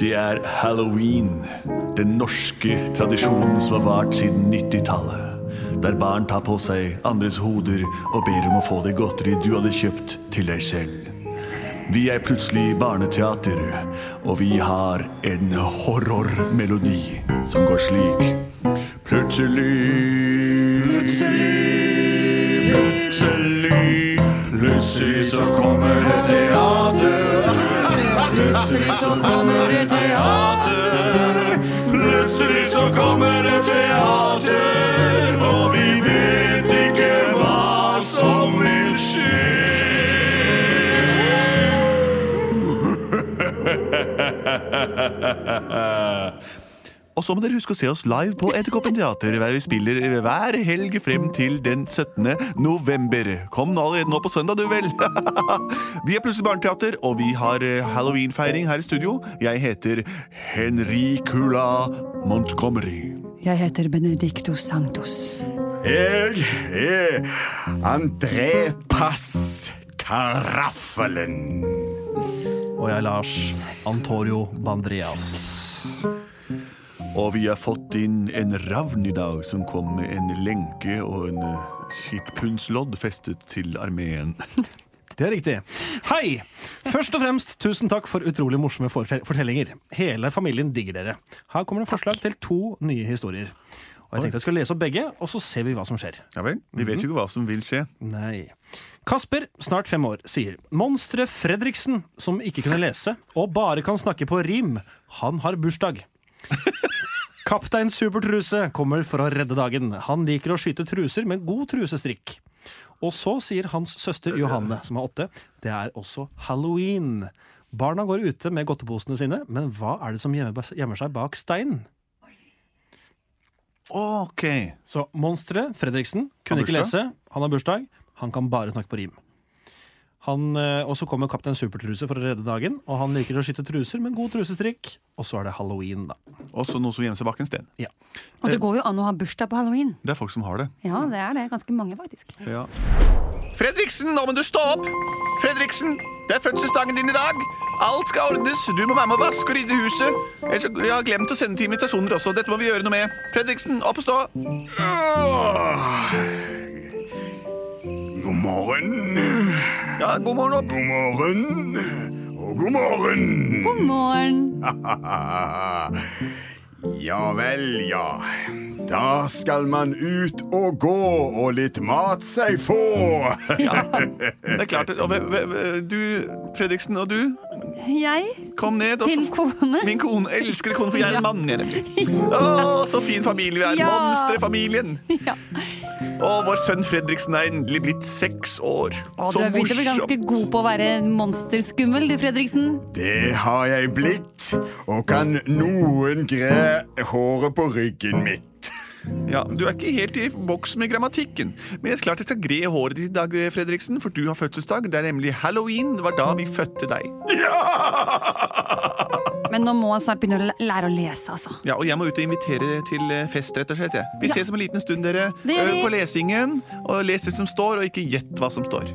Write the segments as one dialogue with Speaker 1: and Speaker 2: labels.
Speaker 1: Det er halloween, den norske tradisjonen som har vart siden 90-tallet. Der barn tar på seg andres hoder og ber om å få det godteri du hadde kjøpt til deg selv. Vi er plutselig barneteater, og vi har en horrormelodi som går slik. Plutselig Plutselig Plutselig Plutselig så kommer det teater. Plutselig så kommer det teater. Plutselig så kommer det teater. Og vi vet ikke hva som vil skje.
Speaker 2: Og så må dere huske å se oss live på Edderkoppen teater, der vi spiller hver helg frem til den 17. november. Kom nå allerede nå på søndag, du vel. vi er plutselig barneteater, og vi har eh, halloweenfeiring her i studio. Jeg heter Henricula Montgomery.
Speaker 3: Jeg heter Benedicto Santos.
Speaker 4: Jeg er André Pass Karaffelen.
Speaker 5: Og jeg er Lars Antorio Bandreas.
Speaker 1: Og vi har fått inn en ravn i dag som kom med en lenke og en eh, skipphundslodd festet til armeen.
Speaker 5: Det er riktig. Hei! Først og fremst, tusen takk for utrolig morsomme fortel- fortellinger. Hele familien digger dere. Her kommer det forslag til to nye historier. Og jeg tenkte jeg skal lese opp begge, og så ser vi hva som skjer.
Speaker 2: Ja vel, vi
Speaker 4: Mhm.
Speaker 2: vet jo ikke hva som vil skje.
Speaker 5: Nei. Kasper, snart fem år, sier monsteret Fredriksen, som ikke kunne lese og bare kan snakke på rim, han har bursdag. Kaptein Supertruse kommer for å redde dagen. Han liker å skyte truser med god trusestrikk. Og så sier hans søster Johanne, som er åtte, det er også halloween. Barna går ute med godteposene sine, men hva er det som gjemmer gjemmer seg bak steinen?
Speaker 2: Ok.
Speaker 5: Så monsteret Fredriksen kunne
Speaker 2: Han har
Speaker 5: ikke lese. Han har bursdag. Han kan bare snakke på rim. Han, eh, og så kommer Kaptein Supertruse for å redde dagen. Og han liker å skyte truser med god trusestrikk. Og så er det halloween, da.
Speaker 2: Også noe som gjemmer seg bak en sten.
Speaker 5: Ja.
Speaker 3: Og det går jo an å ha bursdag på halloween.
Speaker 2: Det er folk som har det.
Speaker 3: Ja, det er det. Ganske mange, faktisk.
Speaker 2: Ja. Fredriksen, nå må du stå opp! Fredriksen, det er fødselsdagen din i dag. Alt skal ordnes. Du må være med å vaske og rydde huset. Ellers jeg har jeg glemt å sende til invitasjoner også. Dette må vi gjøre noe med. Fredriksen, opp og stå.
Speaker 4: God morgen.
Speaker 2: Ja, god morgen opp.
Speaker 4: God morgen. Og god morgen.
Speaker 3: God morgen!
Speaker 4: Ja vel, ja. Da skal man ut og gå og litt mat seg få.
Speaker 2: Det er klart. Og, ve- ve- ve- du, Fredriksen, og du,
Speaker 3: Jeg
Speaker 2: kom ned. og så-
Speaker 3: Din kone.
Speaker 2: Min kone. Elskede kone, for jeg er en mann. jeg nemlig. Å, så fin familie vi er.
Speaker 3: Ja.
Speaker 2: Monsterfamilien.
Speaker 3: Ja.
Speaker 2: Og vår sønn Fredriksen er endelig blitt seks år.
Speaker 3: Å, du
Speaker 2: Så
Speaker 3: er begynt å bli
Speaker 2: morsomt.
Speaker 3: ganske god på å være monsterskummel, du, Fredriksen.
Speaker 4: Det har jeg blitt, og kan noen gre håret på ryggen mitt.
Speaker 2: Ja, Du er ikke helt i boks med grammatikken. Men jeg er klart jeg skal gre håret ditt i dag, Fredriksen, for du har fødselsdag. Det er nemlig halloween. Det var da vi fødte deg.
Speaker 3: Men nå må han snart begynne å læ- lære å lese, altså.
Speaker 2: Ja, Og jeg må ut og invitere til eh, fest, rett og slett. jeg. Vi
Speaker 3: Ja.
Speaker 2: ses om en liten stund, dere.
Speaker 3: Det gjør
Speaker 2: Øv
Speaker 3: vi.
Speaker 2: på lesingen. Og les det som står, og ikke gjett hva som står.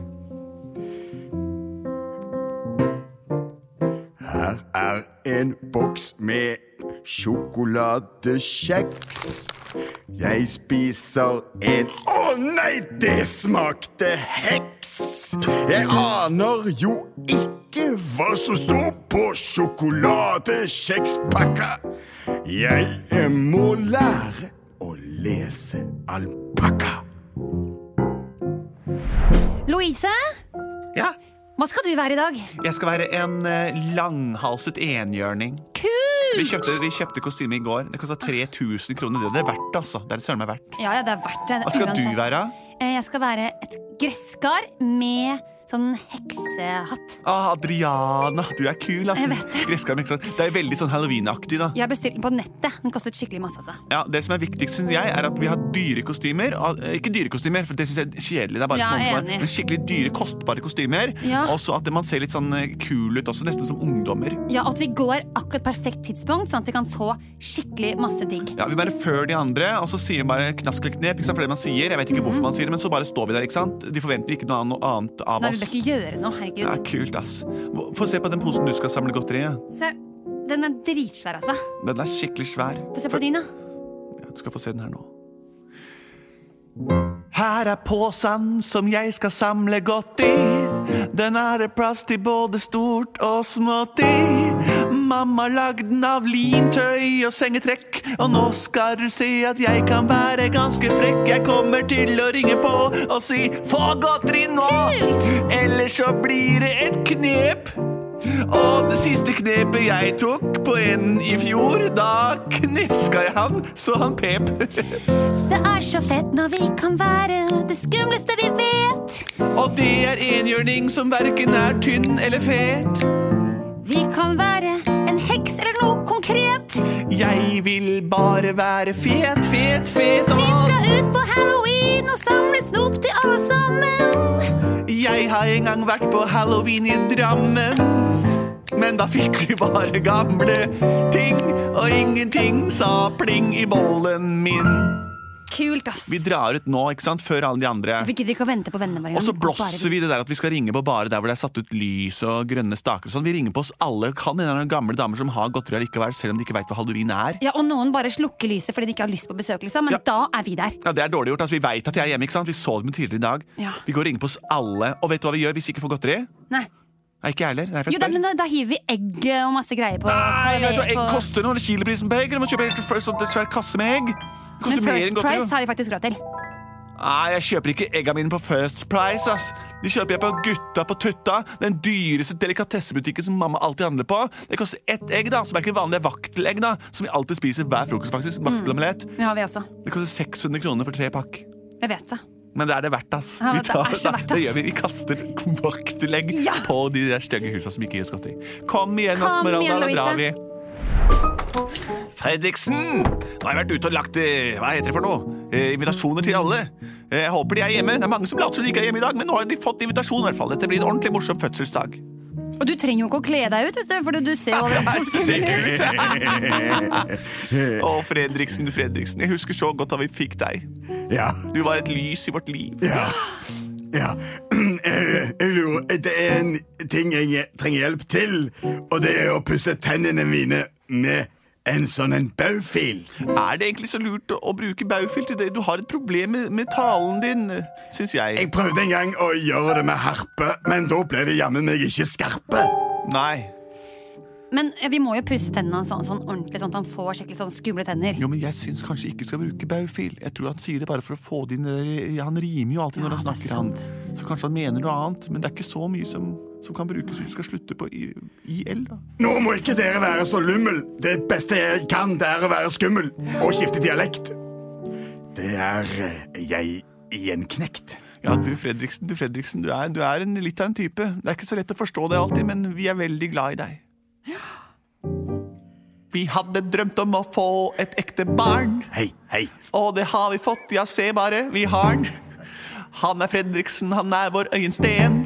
Speaker 4: Her er en boks med sjokoladekjeks. Jeg spiser en Å nei, det smakte heks! Jeg aner jo ikke hva som sto på sjokoladekjekspakka. Jeg eh, må lære å lese alpakka.
Speaker 3: Louise,
Speaker 2: Ja,
Speaker 3: hva skal du være i dag?
Speaker 2: jeg skal være en eh, langhalset enhjørning. Vi kjøpte, vi kjøpte kostyme i går. Det kosta 3000 kroner. Det er det verdt, altså. Det er det søren meg verdt.
Speaker 3: Ja, ja, det er verdt det.
Speaker 2: Hva skal du være?
Speaker 3: Eh, Jeg skal være et gresskar med sånn heksehatt.
Speaker 2: Ah, Adriana, du er kul, altså.
Speaker 3: Jeg vet det.
Speaker 2: Gresskarm, ikke sant? Det er veldig sånn halloweenaktig, da.
Speaker 3: Jeg bestilte den på nettet. Den kostet skikkelig masse, altså.
Speaker 2: Ja, Det som er viktigst, synes jeg, er at vi har dyre kostymer. Al- eh, Ikke dyre kostymer, for det synes jeg er kjedelig. Det er bare
Speaker 3: Ja,
Speaker 2: sånn
Speaker 3: jeg er
Speaker 2: ordentlig,
Speaker 3: enig.
Speaker 2: men Skikkelig dyre, kostbare kostymer.
Speaker 3: Ja.
Speaker 2: Og så at man ser litt sånn eh, kul ut også, nesten som ungdommer.
Speaker 3: Ja, At vi går akkurat perfekt tidspunkt, sånn at vi kan få skikkelig masse digg.
Speaker 2: Ja, Vi bare før de andre, og så sier vi bare knask eller knep. Ikke sant? For det man sier, Jeg vet ikke hvorfor man sier det, men så bare står vi der. ikke sant? De forventer jo ikke noe annet- noe annet av
Speaker 3: Nei, vi
Speaker 2: oss.
Speaker 3: bør ikke gjøre
Speaker 2: Ja,
Speaker 3: noe. herregud
Speaker 2: kult, ass. Hva- Få se på den posen du skal samle godteri i.
Speaker 3: Se, Den er dritsvær, altså.
Speaker 2: Den er skikkelig svær.
Speaker 3: Få se på din, da.
Speaker 2: Ja, Du skal få se den her nå. Her er posen som jeg skal samle godt i. Den er det plass til både stort og smått i. Mamma lagde den av lintøy og sengetrekk. Og nå skal du se at jeg kan være ganske frekk. Jeg kommer til å ringe på og si 'få godteri nå', ellers så blir det et knep. Og det siste knepet jeg tok på en i fjor, da kneska jeg han, så han pep.
Speaker 3: Det er så fett når vi kan være det skumleste vi vet.
Speaker 2: Og det er enhjørning som verken er tynn eller fet.
Speaker 3: Vi kan være en heks eller noe konkret.
Speaker 2: Jeg vil bare være fet, fet, fet,
Speaker 3: Vi
Speaker 2: og
Speaker 3: skal ut på halloween og samle snop til alle sammen.
Speaker 2: jeg har en gang vært på halloween i Drammen. Men da fikk vi bare gamle ting, og ingenting sa pling i bollen min.
Speaker 3: Kult, ass.
Speaker 2: Vi
Speaker 3: Vi
Speaker 2: drar ut nå, ikke sant, før alle de andre.
Speaker 3: gidder ikke å vente på vennene våre.
Speaker 2: Og så blåser vi det der at vi skal ringe på bare der hvor det er satt ut lys og grønne staker. og Sånn. Vi ringer på oss alle. Kan hende det er noen gamle damer som har godteri allikevel, selv om de ikke veit hva halloween er.
Speaker 3: Ja, Og noen bare slukker lyset fordi de ikke har lyst på besøk, liksom. Men
Speaker 2: Ja.
Speaker 3: da er vi der.
Speaker 2: Ja, Det er dårlig gjort. altså Vi veit at jeg er hjemme. ikke sant? Vi så dem tidligere i dag.
Speaker 3: Ja.
Speaker 2: Vi går og ringer på oss alle. Og vet du hva vi gjør hvis vi ikke får godteri?
Speaker 3: Nei.
Speaker 2: Nei, ikke jeg heller. Nei, for
Speaker 3: Jo,
Speaker 2: jeg
Speaker 3: da,
Speaker 2: spør.
Speaker 3: men da, da hiver vi egg og masse greier på.
Speaker 2: Nei,
Speaker 3: på-
Speaker 2: vet du hva egg
Speaker 3: på-
Speaker 2: koster nå? Eller kiloprisen på egg? Eller må kjøpe helt først en svær kasse med egg? Det
Speaker 3: Men
Speaker 2: Koster mer enn
Speaker 3: First
Speaker 2: godteri.
Speaker 3: Price har vi faktisk råd til.
Speaker 2: Nei, jeg kjøper ikke egga mine på First Price, ass. De kjøper jeg på Gutta på Tutta, den dyreste delikatessebutikken som mamma alltid handler på. Det koster ett egg, da, som er ikke vanlige vaktelegg, da, som vi alltid spiser hver frokost, faktisk. Vaktelomelett.
Speaker 3: Det har vi også.
Speaker 2: Det koster 600 kroner for tre pakk.
Speaker 3: Jeg vet det.
Speaker 2: Men det er det verdt, ass.
Speaker 3: Ja,
Speaker 2: Vi
Speaker 3: det er så verdt,
Speaker 2: det
Speaker 3: ass.
Speaker 2: gjør vi. Vi kaster vaktelegg
Speaker 3: Ja.
Speaker 2: på de der stygge husa som ikke gir oss godteri. Kom igjen,
Speaker 3: Kom
Speaker 2: Esmeralda.
Speaker 3: igjen,
Speaker 2: Da drar vi.
Speaker 3: Louise.
Speaker 2: Fredriksen! Nå har jeg vært ute og lagt eh, hva heter det for noe? Eh, invitasjoner til alle. Eh, jeg håper de er hjemme. Det er mange som later som de ikke er hjemme i dag, men nå har de fått invitasjon. i hvert fall. Dette blir en ordentlig morsom fødselsdag.
Speaker 3: Og du trenger jo ikke å kle deg ut, vet du, for du ser jo allerede så skummel ut.
Speaker 2: Å, Fredriksen, du Fredriksen. Jeg husker så godt da vi fikk deg.
Speaker 4: Ja.
Speaker 2: Du var et lys i vårt liv.
Speaker 4: Ja. ja. Eh, Jeg lurer Det er en ting jeg trenger hjelp til, og det er å pusse tennene mine med en sånn en baufil.
Speaker 2: Er det egentlig så lurt å, å bruke baufil til det? Du har et problem med, med talen din, syns jeg.
Speaker 4: Jeg prøvde en gang å gjøre det med harpe, men da ble det jammen meg ikke skarpe.
Speaker 2: Nei.
Speaker 3: Men eh, vi må jo pusse tennene hans sånn, sånn ordentlig, sånn at han får skikkelig sånn skumle tenner.
Speaker 2: Jo, men jeg syns kanskje ikke du skal bruke baufil. Jeg tror han sier det bare for å få det inn i det der- Han rimer jo alltid når
Speaker 3: Ja,
Speaker 2: han
Speaker 3: det er
Speaker 2: snakker. Han.
Speaker 3: sant.
Speaker 2: Så kanskje han mener noe annet, men det er ikke så mye som, som kan brukes hvis det skal slutte på I- IL. da.
Speaker 4: Nå må ikke dere være så lummel. Det beste jeg kan, det er å være skummel og skifte dialekt. Det er eh, jeg gjenknekt.
Speaker 2: Ja, du Fredriksen, du Fredriksen, du er, du er en, litt av en type. Det er ikke så lett å forstå det alltid, men vi er veldig glad i deg. Vi hadde drømt om å få et ekte barn.
Speaker 4: Hei, hei.
Speaker 2: Og det har vi fått, ja se bare, vi har den. Han er Fredriksen, han er vår øyensten.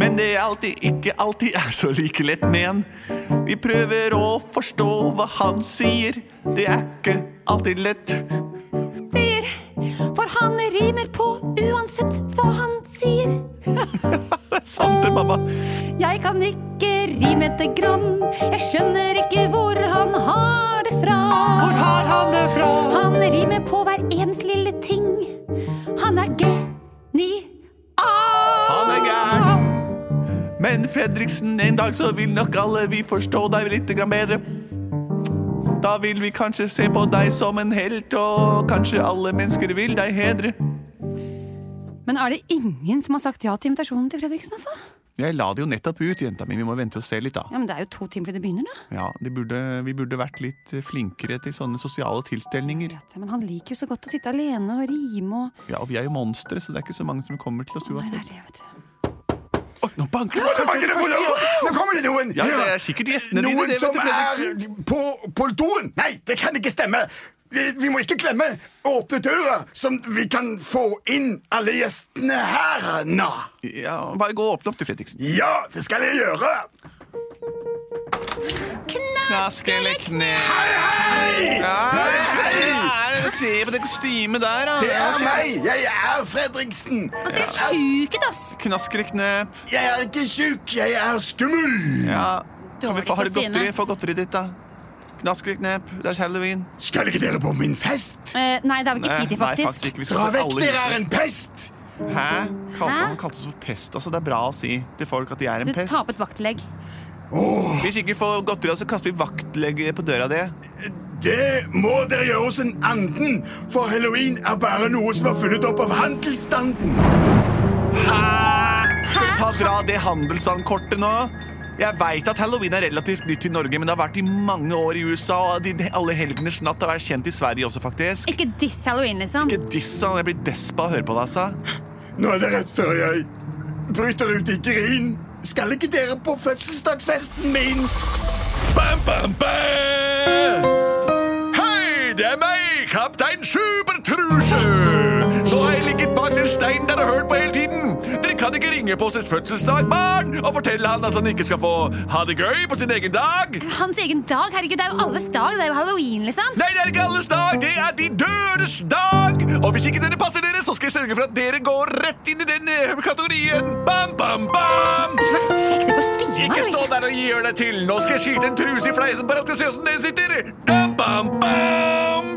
Speaker 2: Men det er alltid, ikke alltid er så like lett med en. Vi prøver å forstå hva han sier. Det er ikke alltid lett.
Speaker 3: For han rimer på uansett hva han sier.
Speaker 2: Sant det, mamma?
Speaker 3: Jeg kan ikke rime etter grann. Jeg skjønner ikke hvor han har det fra.
Speaker 2: Hvor har han det fra?
Speaker 3: Han rimer på hver ens lille ting. Han er genial.
Speaker 2: Han er gæren. Men Fredriksen, en dag så vil nok alle vi forstå deg litt grann bedre. Da vil vi kanskje se på deg som en helt, og kanskje alle mennesker vil deg hedre.
Speaker 3: Men er det ingen som har sagt ja til invitasjonen til Fredriksen, altså?
Speaker 2: Jeg la det jo nettopp ut, jenta mi. Vi må vente og se litt, da.
Speaker 3: Ja, men Det er jo to timer til det begynner, da.
Speaker 2: Ja, de burde, Vi burde vært litt flinkere til sånne sosiale tilstelninger.
Speaker 3: Ja, Men han liker jo så godt å sitte alene og rime og
Speaker 2: Ja, og Vi er jo monstre, så det er ikke så mange som kommer til oss
Speaker 3: Nei, det
Speaker 2: uansett.
Speaker 3: er det, vet du.
Speaker 4: Å,
Speaker 2: banker
Speaker 4: Nå banker det på døren! Nå kommer det noen!
Speaker 2: Ja, det er sikkert gjestene dine,
Speaker 4: Noen
Speaker 2: det vet
Speaker 4: som
Speaker 2: du,
Speaker 4: er
Speaker 2: Fredriksen.
Speaker 4: på, på doen! Nei, det kan ikke stemme! Vi vi må ikke glemme å åpne døra, så vi kan få inn alle gjestene her. Nå.
Speaker 2: Ja, bare gå og åpne opp til Fredriksen.
Speaker 4: Ja, det skal jeg gjøre.
Speaker 2: Knask eller kne...
Speaker 4: Hei, hei!
Speaker 2: Se på det kostymet der, da.
Speaker 4: Det er meg! Jeg er Fredriksen!
Speaker 3: Han ser helt sjuk ut, ass.
Speaker 2: Knask eller knep.
Speaker 4: Jeg er ikke sjuk, jeg er skummel!
Speaker 2: Ja. Kan vi
Speaker 3: Dårlig
Speaker 2: få, har du
Speaker 3: kostyme.
Speaker 2: godteri? Få godteriet ditt, da. Knask eller knep. Det er halloween.
Speaker 4: Skal ikke dere på min fest?
Speaker 3: Eh, nei, det har vi ikke tid til,
Speaker 2: Nei,
Speaker 3: faktisk.
Speaker 2: faktisk ikke. Vi skal
Speaker 4: Dra
Speaker 2: få
Speaker 4: vekk,
Speaker 2: alle
Speaker 4: dere
Speaker 2: husene.
Speaker 4: er en pest!
Speaker 2: Hæ? Kalte,
Speaker 3: Hæ?
Speaker 2: han kalte oss for pest. Altså, det er bra å si til folk at de er en
Speaker 3: Du
Speaker 2: pest.
Speaker 3: tapet vaktlegg.
Speaker 2: Hvis ikke vi får godteri, så kaster vi vaktlegge på døra di.
Speaker 4: Det må dere gjøre hos en anden, for halloween er bare noe som er funnet opp av handelsstanden.
Speaker 2: Skal vi ta og dra det handelsstandkortet nå? Jeg veit at halloween er relativt nytt i Norge, men det har vært i mange år i USA. Og de- alle helgenes natt har vært kjent i Sverige også, faktisk.
Speaker 3: Ikke diss halloween, liksom.
Speaker 2: Ikke diss han, jeg blir despa av å høre på deg, altså.
Speaker 4: Nå er det rett før jeg bryter ut i grin. Skal ikke dere på fødselsdagsfesten min?
Speaker 1: Bam, bam, bam! Hei, det er meg, kaptein Supertruse! Nå har jeg ligget bak den steinen dere har hørt på hele tiden. Dere kan ikke ringe på sitt fødselsdag, barn, og fortelle han at han ikke skal få ha det gøy på sin egen dag.
Speaker 3: Hans egen dag, herregud, det er jo alles dag. Det er jo halloween, liksom.
Speaker 1: Nei, det er ikke alles dag, det er de dødes dag! Og hvis ikke dere passer dere, så skal jeg sørge for at dere går rett inn i den eh, kategorien. Bam, bam, bam!
Speaker 3: Hva slags kjekte kostymer?
Speaker 1: Ikke stå
Speaker 3: liksom.
Speaker 1: der og gjør deg til. Nå skal jeg skyte en truse i fleisen bare at du skal se hvordan den sitter. Bam, bam, bam!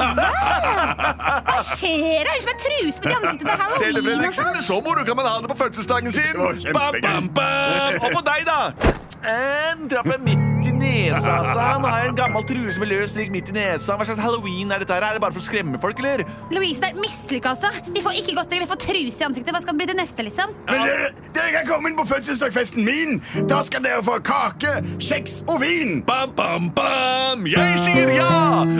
Speaker 3: Hva skjer? Det er jo som en truse med de ansiktene
Speaker 1: Ser
Speaker 3: til
Speaker 1: du,
Speaker 3: halloween og
Speaker 1: Fredriksen?
Speaker 3: sånn.
Speaker 1: Så moro kan man ha det på fødselsdagen sin.
Speaker 4: Det var kjempegøy.
Speaker 1: Bam, bam, bam! Og på deg, da? En trappe midt i nesa, sa han. Har jeg en gammel truse med løs strikk midt i nesa? Hva slags halloween er dette her? Er det bare for å skremme folk, eller?
Speaker 3: Louise, det er mislykka, altså. Vi får ikke godteri, vi får truse i ansiktet. Hva skal det bli til neste, liksom?
Speaker 4: Men dere, dere kan komme inn på fødselsdagsfesten min. Da skal dere få kake, kjeks og vin.
Speaker 1: Bam, bam, bam! Jeg sier ja!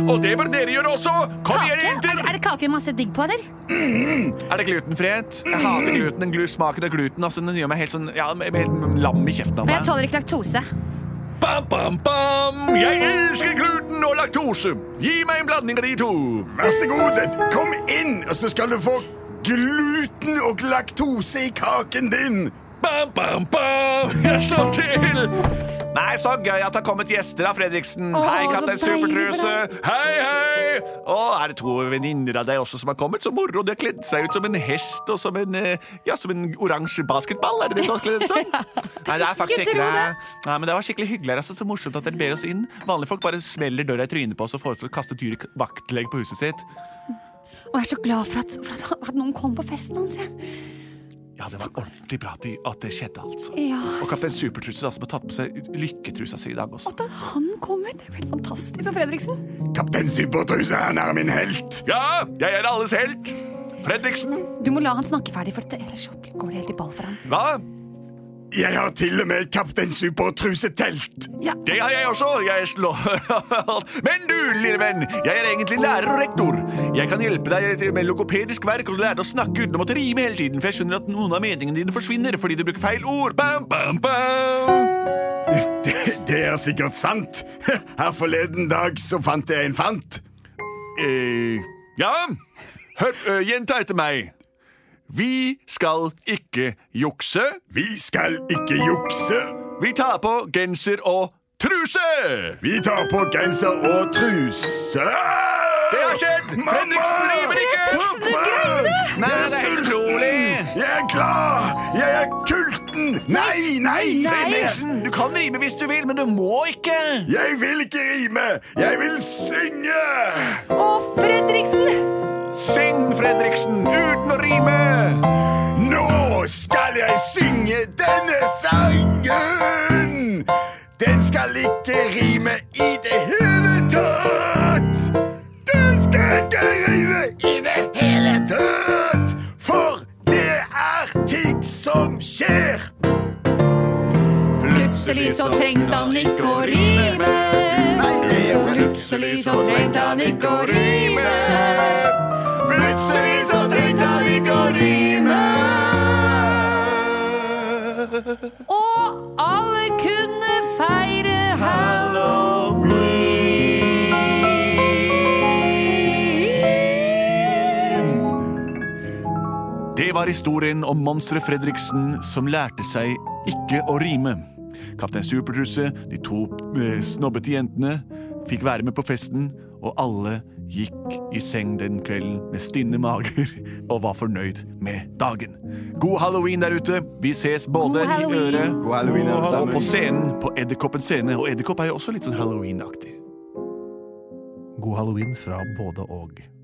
Speaker 1: Og det bør dere gjøre også. Kom igjen,
Speaker 3: Kake? Er,
Speaker 1: jenter!
Speaker 3: er det kake med masse digg på, eller?
Speaker 2: Er det glutenfrihet? Jeg hater gluten. Den glu smaken av gluten altså, den gjør meg helt sånn, ja, jeg blir helt lam i kjeften av
Speaker 3: Og jeg
Speaker 2: meg.
Speaker 3: tåler ikke laktose.
Speaker 1: Bam, bam, bam! Jeg elsker gluten og laktose. Gi meg en blanding av de to.
Speaker 4: Vær så god, kom inn, og så skal du få gluten og laktose i kaken din.
Speaker 1: Bam, bam, bam! Jeg slår til!
Speaker 2: Nei, så gøy at det har kommet gjester av Fredriksen.
Speaker 3: Åh,
Speaker 2: hei, kaptein
Speaker 3: så deilig for
Speaker 2: Supertruse. Hei, hei! Å, er det to venninner av deg også som har kommet? Så moro. De har kledd seg ut som en hest og som en eh, Ja, som en oransje basketball. Er det det du har kledd ut som? Nei, det er faktisk
Speaker 3: Skulle
Speaker 2: ikke
Speaker 3: tro
Speaker 2: det. Nei, men det var skikkelig hyggelig her. Altså. Så morsomt at dere ber oss inn. Vanlige folk bare smeller døra i trynet på oss og foreslår å kaste et dyr vaktlegg på huset sitt.
Speaker 3: Og jeg er så glad for at, for at, at noen kom på festen hans. jeg.
Speaker 2: Ja, det var ordentlig bra at, de, at det skjedde, altså.
Speaker 3: Ja,
Speaker 2: Og kaptein Supertruse, da, som har tatt på seg lykketrusa si i dag også.
Speaker 3: at han kommer, det blir fantastisk for Fredriksen.
Speaker 4: Kaptein Supertruse, han er min helt.
Speaker 1: Ja, jeg er alles helt. Fredriksen.
Speaker 3: Du må la han snakke ferdig, for dette, ellers så går det helt i ball for han.
Speaker 1: Hva?
Speaker 4: Jeg har til og med et Kaptein Supertruse-telt.
Speaker 1: Det har jeg også. Jeg slår Men du, lille venn, jeg er egentlig lærer og rektor. Jeg kan hjelpe deg med logopedisk verk og lære deg å snakke uten å måtte rime hele tiden, for jeg skjønner at noen av meningene dine forsvinner fordi du bruker feil ord. Bam, bam, bam.
Speaker 4: Det, det er sikkert sant. Her forleden dag så fant jeg en fant.
Speaker 1: Eh, ja, hør, eh, gjenta etter meg. Vi skal ikke jukse.
Speaker 4: Vi skal ikke jukse.
Speaker 1: Vi tar på genser og truse.
Speaker 4: Vi tar på genser og truse.
Speaker 1: Det har skjedd!
Speaker 4: Mamma!
Speaker 1: Fredriksen river ikke!
Speaker 4: Mamma!
Speaker 2: Nei, det er helt utrolig!
Speaker 4: Jeg er klar! Jeg er kulten! Nei, nei!
Speaker 2: Fredriksen, du kan rime hvis du vil, men du må ikke.
Speaker 4: Jeg vil ikke rime! Jeg vil synge!
Speaker 3: Å, Fredriksen!
Speaker 2: Syng, Fredriksen, uten å rime.
Speaker 4: Nå skal jeg synge denne sangen! Den skal ikke rime i det hele tatt! Den skal ikke rime i det hele tatt! For det er ting som skjer!
Speaker 3: Plutselig så trengte han ikke å rime. Plutselig så trengte han ikke å rime.
Speaker 4: Plutselig så trengte han ikke å rime!
Speaker 3: Og alle kunne feire halloween.
Speaker 2: Det var historien om monsteret Fredriksen som lærte seg ikke å rime. Kaptein Supertruse, de to eh, snobbete jentene, fikk være med på festen, og alle gikk i seng den kvelden med stinne mager og var fornøyd med dagen. God halloween der ute! Vi ses både i
Speaker 3: halloween.
Speaker 2: øret
Speaker 4: God halloween, alle
Speaker 2: og
Speaker 4: sammen.
Speaker 2: på scenen på Edderkoppens scene. Og Edderkopp er jo også litt sånn halloween-aktig.
Speaker 5: God halloween fra både og.